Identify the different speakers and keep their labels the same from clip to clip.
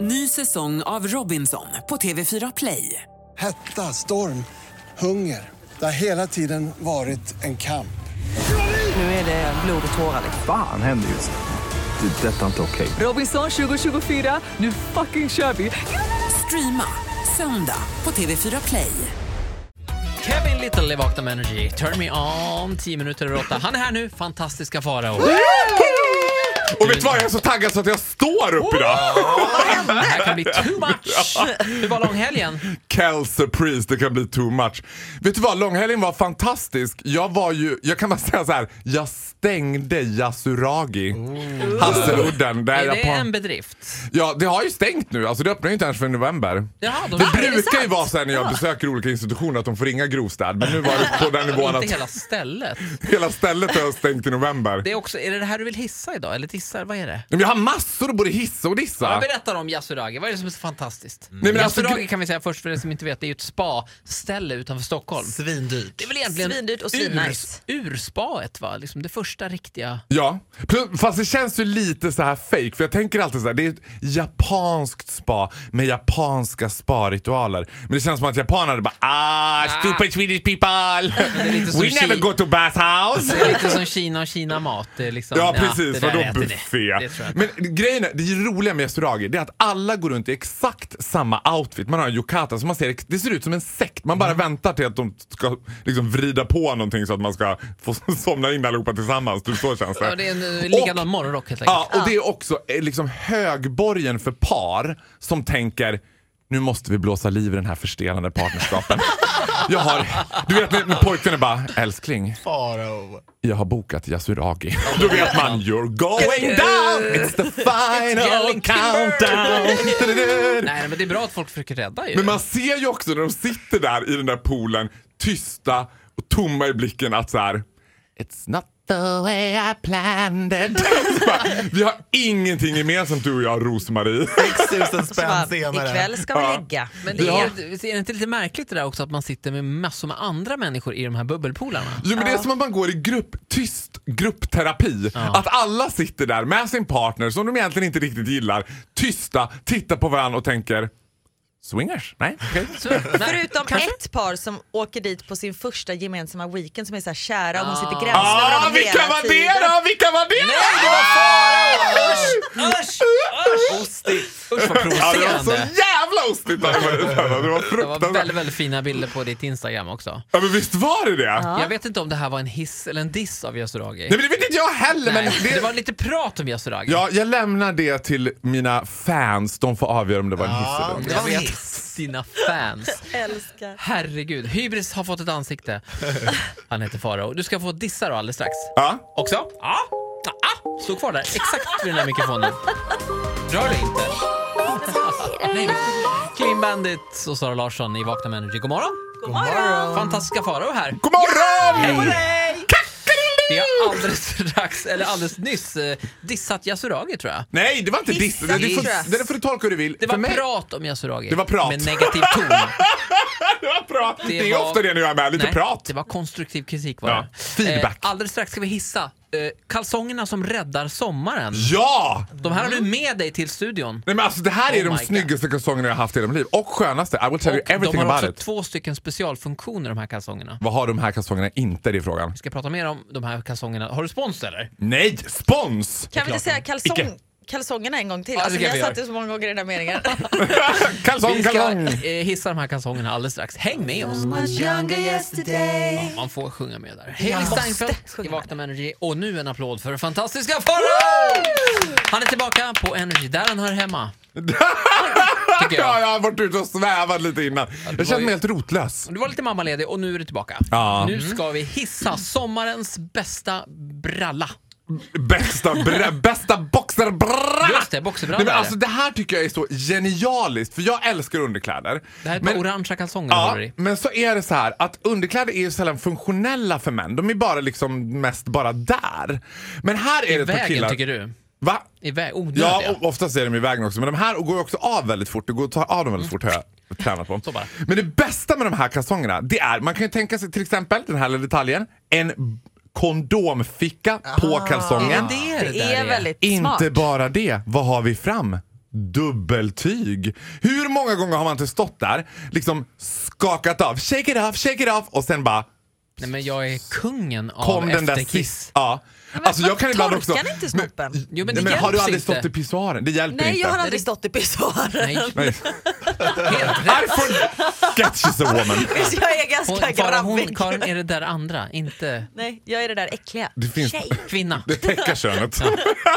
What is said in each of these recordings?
Speaker 1: Ny säsong av Robinson på TV4 Play.
Speaker 2: Hetta, storm, hunger. Det har hela tiden varit en kamp.
Speaker 1: Nu är det blod och tårar. liksom.
Speaker 3: Fan händer just nu. Det. är Detta är inte okej.
Speaker 1: Robinson 2024, nu fucking kör vi! Streama söndag på TV4 Play.
Speaker 4: Kevin Little i Vakna med Energy. Turn me on, 10 minuter över 8. Han är här nu, fantastiska Farao.
Speaker 5: Och vet du vad, jag är så taggad så att jag står upp idag!
Speaker 4: Det här kan bli too much. Hur var långhelgen?
Speaker 5: Kelsey Priest, det kan bli too much. Vet du vad, långhelgen var fantastisk. Jag var ju, jag kan bara säga så här, jag stängde Yasuragi. Hasseludden. Där
Speaker 4: Mm.
Speaker 5: jag
Speaker 4: Är det
Speaker 5: på,
Speaker 4: en bedrift?
Speaker 5: Ja, det har ju stängt nu. Alltså det öppnar ju inte ens för november.
Speaker 4: Jaha, de-
Speaker 5: det
Speaker 4: Ah, är det
Speaker 5: brukar ju
Speaker 4: sant?
Speaker 5: vara så här när jag
Speaker 4: Ja.
Speaker 5: besöker olika institutioner att de får ringa grovstäd. Men nu var det på den nivån att
Speaker 4: Inte hela stället.
Speaker 5: hela stället har stängt i november.
Speaker 4: Det är, också, är det det här du vill hissa idag? Eller dissar? Vad är det?
Speaker 5: Men jag har massor att både hissa och dissa.
Speaker 4: Ja. Berätta om Yasuragi, vad är det som är så fantastiskt?
Speaker 5: Nej, men alltså,
Speaker 4: Yasuragi
Speaker 5: gre-
Speaker 4: kan vi säga först för den som inte vet, det är ju ett spa-ställe utanför Stockholm. Svindyrt. Det är väl egentligen
Speaker 6: Svindyrt och svinnice.
Speaker 4: ur, urspaet va? Liksom det första riktiga.
Speaker 5: Ja, Plus- fast det känns ju lite så här fake för jag tänker alltid så här, det är ett japanskt spa med japanska sparitualer. Men det känns som att japanerna bara ah, stupid Swedish people!
Speaker 4: Det är lite som
Speaker 5: We never
Speaker 4: Ki-
Speaker 5: go to bathhouse!
Speaker 4: Det är lite som Kina och Kina-mat. det är Liksom,
Speaker 5: Ja precis,
Speaker 4: det där
Speaker 5: vadå
Speaker 4: äter ni.
Speaker 5: buffé?
Speaker 4: Det tror jag inte.
Speaker 5: Men grejen är, det roliga med Yasuragi det är att alla går runt i exakt samma outfit. Man har en yukata så man ser, det ser ut som en sekt. Man
Speaker 4: Mm.
Speaker 5: bara väntar till att de ska liksom vrida på någonting så att man ska få somna in allihopa tillsammans. Typ så känns det.
Speaker 4: Ja, det är en eh,
Speaker 5: Och-
Speaker 4: likadan morgonrock helt enkelt.
Speaker 5: Ja, och det är också eh, liksom högborgen för par som tänker nu måste vi blåsa liv i den här förstelande partnerskapen. Jag har, du vet när, när pojken är bara älskling,
Speaker 7: Faro.
Speaker 5: jag har bokat Yasuragi. Då vet man you're going down, it's the final
Speaker 4: getting
Speaker 5: countdown.
Speaker 4: Nej, men det är bra att folk försöker rädda ju.
Speaker 5: Men man ser ju också när de sitter där i den där poolen, tysta och tomma i blicken att så här. It's not the way I planned it. Så bara, Vi har ingenting gemensamt du och jag, Rosmarie.
Speaker 7: 6000
Speaker 6: Så bara,
Speaker 7: spänn senare.
Speaker 6: Ikväll ska vi ligga.
Speaker 4: Men det är,
Speaker 5: Ja.
Speaker 4: är det inte lite märkligt det där också att man sitter med massor med andra människor i de här bubbelpoolarna?
Speaker 5: Jo, men det är som att man går i grupp, tyst gruppterapi. Att alla sitter där med sin partner som de egentligen inte riktigt gillar, tysta, tittar på varandra och tänker swingers? Nej, okej.
Speaker 4: Så, nej.
Speaker 6: Förutom ett par som åker dit på sin första gemensamma weekend som är så här kära och hon sitter gränslös över
Speaker 5: Ah,
Speaker 6: dem
Speaker 5: vilka
Speaker 6: hela
Speaker 5: var
Speaker 6: tiden.
Speaker 5: det då? Vilka var det?
Speaker 4: Nej, det var Farao! Usch, usch, usch! Ostigt. Usch vad
Speaker 5: Ja, det var så
Speaker 4: provocerande.
Speaker 5: jävla ostigt! när det var det där. Det var
Speaker 4: Det var
Speaker 5: fruktansvärt.
Speaker 4: väldigt, väldigt fina bilder på ditt Instagram också.
Speaker 5: Ja, men visst var det det?
Speaker 4: Jag vet inte om det här var en hiss eller en diss av Yasuragi.
Speaker 5: Nej, men det vet inte jag heller.
Speaker 4: Nej,
Speaker 5: Men det...
Speaker 4: det var lite prat om Yasuragi.
Speaker 5: Ja, jag lämnar det till mina fans. De får avgöra om det var en hiss eller en
Speaker 4: Det
Speaker 5: diss.
Speaker 4: var en hiss. Dina fans.
Speaker 6: Älskar.
Speaker 4: Herregud, hybris har fått ett ansikte. Han heter Farao. Du ska få dissa då alldeles strax.
Speaker 5: Ja.
Speaker 4: Också? Ja. ja. Stå kvar där, exakt vid den där mikrofonen. Rör dig inte. Nej. Clean Bandit och Sara Larsson i Vakna med Energy. God morgon.
Speaker 6: God morgon.
Speaker 4: Fantastiska Farao här.
Speaker 5: God morgon!
Speaker 4: Vi har alldeles strax, eller alldeles nyss, eh, dissat Yasuragi tror jag.
Speaker 5: Nej, det var inte diss.
Speaker 6: Hissa,
Speaker 5: Det, det, får,
Speaker 6: tror jag.
Speaker 5: det får du tolka hur du vill.
Speaker 4: Det
Speaker 5: För
Speaker 4: var
Speaker 5: mig-
Speaker 4: prat om Yasuragi.
Speaker 5: Det var prat.
Speaker 4: Med negativ ton.
Speaker 5: Det var prat. Det, är
Speaker 4: var-
Speaker 5: ofta det när jag är med. Lite
Speaker 4: Nej,
Speaker 5: prat.
Speaker 4: Det var konstruktiv kritik var
Speaker 5: Ja,
Speaker 4: det.
Speaker 5: feedback.
Speaker 4: Eh, alldeles strax ska vi hissa eh, kalsongerna som räddar sommaren.
Speaker 5: Ja!
Speaker 4: De här har
Speaker 5: Mm.
Speaker 4: du med dig till studion.
Speaker 5: Nej, men alltså, det här är
Speaker 4: Oh
Speaker 5: de
Speaker 4: my God.
Speaker 5: snyggaste kalsongerna jag haft i hela mitt liv. Och skönaste. I will tell you
Speaker 4: Och de
Speaker 5: everything
Speaker 4: har
Speaker 5: about
Speaker 4: också
Speaker 5: it.
Speaker 4: två stycken specialfunktioner de här kalsongerna.
Speaker 5: Vad har de här kalsongerna inte? Det är frågan.
Speaker 4: Vi ska prata mer om de här kalsongerna. Har du spons eller?
Speaker 5: Nej, spons!
Speaker 6: Kan vi inte säga
Speaker 5: Icke.
Speaker 6: kalsong, kalsongerna en gång till?
Speaker 4: Ja,
Speaker 6: Alltså,
Speaker 4: det
Speaker 6: vi
Speaker 4: kan
Speaker 6: har
Speaker 4: vi
Speaker 6: sagt det så många gånger i den här meningen.
Speaker 5: Kalsong,
Speaker 4: Vi ska
Speaker 5: kalsong!
Speaker 4: eh, hissa de här kalsongerna alldeles strax. Häng med oss!
Speaker 5: Eh.
Speaker 4: Ja, man får sjunga med där. Heli Steinfeldt i
Speaker 6: sjunga
Speaker 4: Vakna med Energy. Och nu en applåd för fantastiska Farao! Han är tillbaka på Energy, där han hör hemma. Tycker jag.
Speaker 5: Ja, jag har varit ute och svävat lite innan. Jag
Speaker 4: var
Speaker 5: känner
Speaker 4: ju-
Speaker 5: mig helt rotlös.
Speaker 4: Du var lite mammaledig och nu är du tillbaka.
Speaker 5: Ja. Mm.
Speaker 4: Nu ska vi hissa sommarens bästa bralla.
Speaker 5: Bästa, bre- bästa boxerbralla!
Speaker 4: Just det, boxerbralla
Speaker 5: Nej, men
Speaker 4: är
Speaker 5: alltså, det här tycker jag är så genialiskt, för jag älskar underkläder.
Speaker 4: Det här är ett
Speaker 5: Men-
Speaker 4: par orangea kalsonger du
Speaker 5: Ja,
Speaker 4: håller i.
Speaker 5: men så är det så här att underkläder är ju sällan funktionella för män. De är bara liksom mest bara där. Men här är det
Speaker 4: I
Speaker 5: ett par
Speaker 4: vägen
Speaker 5: killar...
Speaker 4: tycker du?
Speaker 5: Va?
Speaker 4: I vä- oh, onödiga?
Speaker 5: Ja, och oftast är de i vägen också. Men de här går ju också av väldigt fort. Det går att ta av dem väldigt fort har jag tränat på.
Speaker 4: Så bara.
Speaker 5: Men det bästa med de här kalsongerna, det är, man kan ju tänka sig till exempel, den här lilla detaljen, en kondomficka på kalsongen.
Speaker 4: Men det är det,
Speaker 6: Ah. Det
Speaker 4: där
Speaker 6: är väldigt smart.
Speaker 5: Inte bara det, vad har vi fram? dubbeltyg. Hur många gånger har man inte stått där, liksom skakat av, shake it off, shake it off och sen bara
Speaker 4: Nej men jag är kungen av
Speaker 5: kom den där
Speaker 4: efterkiss.
Speaker 5: sist. Ja. Alltså jag kan ibland också...
Speaker 6: torkar ni inte snoppen?
Speaker 4: Jo, men
Speaker 5: Nej,
Speaker 4: det
Speaker 5: men har du
Speaker 4: hjälps
Speaker 5: aldrig
Speaker 4: inte.
Speaker 5: stått i pissoaren? Det hjälper
Speaker 6: Nej,
Speaker 5: inte.
Speaker 6: jag har aldrig stått i pissoaren.
Speaker 4: Nej,
Speaker 5: Nej.
Speaker 4: helt rätt.
Speaker 5: I forget she's a woman.
Speaker 6: Visst, jag är
Speaker 4: Hon,
Speaker 6: ganska
Speaker 4: Farah, hon,
Speaker 6: grabbig.
Speaker 4: Karin är det där andra, inte
Speaker 6: Nej, jag är det där äckliga.
Speaker 5: Det finns-
Speaker 6: Tjej.
Speaker 4: kvinna.
Speaker 5: Det täcker könet.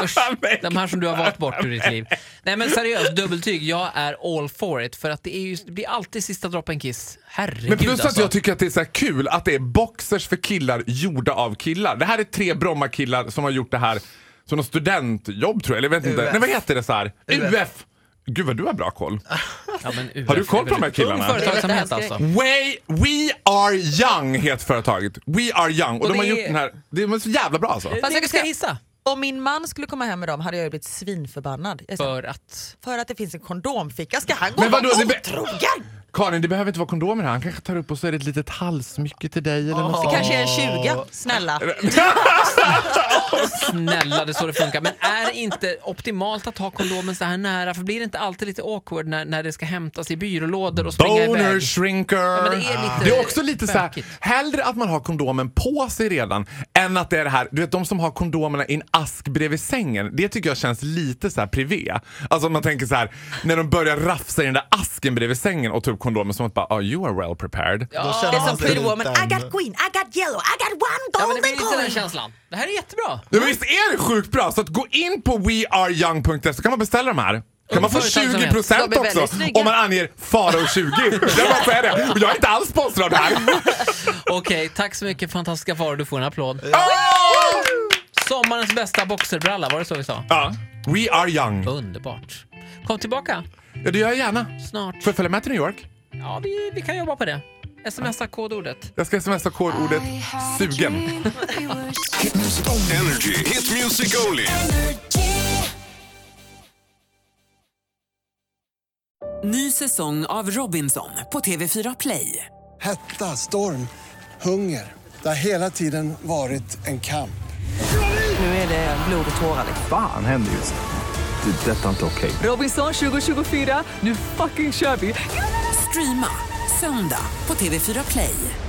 Speaker 4: Usch, de här som du har valt bort ur ditt liv. Nej men seriöst, dubbeltyg. Jag är all for it. För att det, är ju, det blir alltid sista droppen kiss. Herregud
Speaker 5: Men plus att
Speaker 4: alltså.
Speaker 5: jag tycker att det är så här kul att det är boxers för killar gjorda av killar. Det här är tre Bromma-killar som har gjort det här som något studentjobb tror jag. Eller jag vet inte.
Speaker 7: UF.
Speaker 5: Nej vad heter det så här?
Speaker 7: UF.
Speaker 5: UF. Gud vad du har bra koll.
Speaker 4: Ah, Ja, men UF
Speaker 5: Har du koll
Speaker 4: är
Speaker 5: på
Speaker 4: väl
Speaker 5: de här killarna?
Speaker 4: Ung företagsamhet alltså.
Speaker 5: Way, we are young heter företaget. We are young. Och,
Speaker 4: Och
Speaker 5: de har
Speaker 4: det
Speaker 5: gjort
Speaker 4: är-
Speaker 5: den här. Det är så jävla bra alltså.
Speaker 4: Fast jag ska hissa.
Speaker 6: Om min man skulle komma hem med dem hade jag ju blivit svinförbannad. Jag sa,
Speaker 4: För att...
Speaker 6: För att det finns en kondomficka ska han gå
Speaker 5: Men
Speaker 6: och vara
Speaker 5: vadå, det be-
Speaker 6: otrogen?
Speaker 5: Karin det behöver inte vara kondomer här. Han kanske tar upp och så är det ett litet halsmycke till dig eller något
Speaker 6: Det
Speaker 5: sånt.
Speaker 6: kanske är en 20, snälla.
Speaker 4: Snälla, det är så det funkar. Men är det inte optimalt att ha kondomen så här nära? För blir det inte alltid lite awkward när, när det ska hämtas i byrålådor och springa
Speaker 5: Boner
Speaker 4: iväg?
Speaker 5: shrinker.
Speaker 4: men det är lite
Speaker 5: Det är också lite så här,
Speaker 4: bökigt.
Speaker 5: hellre att man har kondomen på sig redan än att det är det här, du vet de som har kondomerna i en ask bredvid sängen. Det tycker jag känns lite så här privé. Alltså om man tänker så här, när de börjar rafsa i den där asken bredvid sängen och ta upp kondomen som att bara, oh, you are well prepared.
Speaker 7: Då känner
Speaker 6: Det är
Speaker 7: man
Speaker 6: som
Speaker 7: sig
Speaker 6: Pretty
Speaker 7: lite
Speaker 6: Woman, I got green, I got yellow, I got one
Speaker 4: Ja, men det
Speaker 6: golden
Speaker 4: blir lite den
Speaker 6: coin.
Speaker 4: känslan. Det här är jättebra.
Speaker 5: Ja, men visst är det sjukt bra? Så att gå in på weareyoung.se så kan man beställa de här. Kan man få
Speaker 4: Företagsamhet.
Speaker 5: 20%
Speaker 6: De är väldigt
Speaker 5: också
Speaker 6: snygga.
Speaker 5: om man anger Farao20? jag bara säger det. Och Jag är inte alls sponsrad här.
Speaker 4: Okej, tack så mycket fantastiska faror. Du får en applåd.
Speaker 5: Åh!
Speaker 4: Sommarens bästa boxerbralla, var det så vi sa?
Speaker 5: Ja. We are young.
Speaker 4: Underbart. Kom tillbaka
Speaker 5: Ja, det gör jag gärna.
Speaker 4: snart.
Speaker 5: Får jag följa med till New York?
Speaker 4: Ja, vi, vi kan jobba på det. Smsa kodordet.
Speaker 5: Jag ska smsa kodordet SUGEN.
Speaker 8: Energy. Hit music only.
Speaker 1: Ny säsong av Robinson på TV4 Play.
Speaker 2: Hetta, storm, hunger. Det har hela tiden varit en kamp.
Speaker 1: Nu är det blod och tårar.
Speaker 3: Fan händer just nu. Det. är Detta är inte okej.
Speaker 1: Robinson 2024, nu fucking kör vi! Streama söndag på TV4 Play.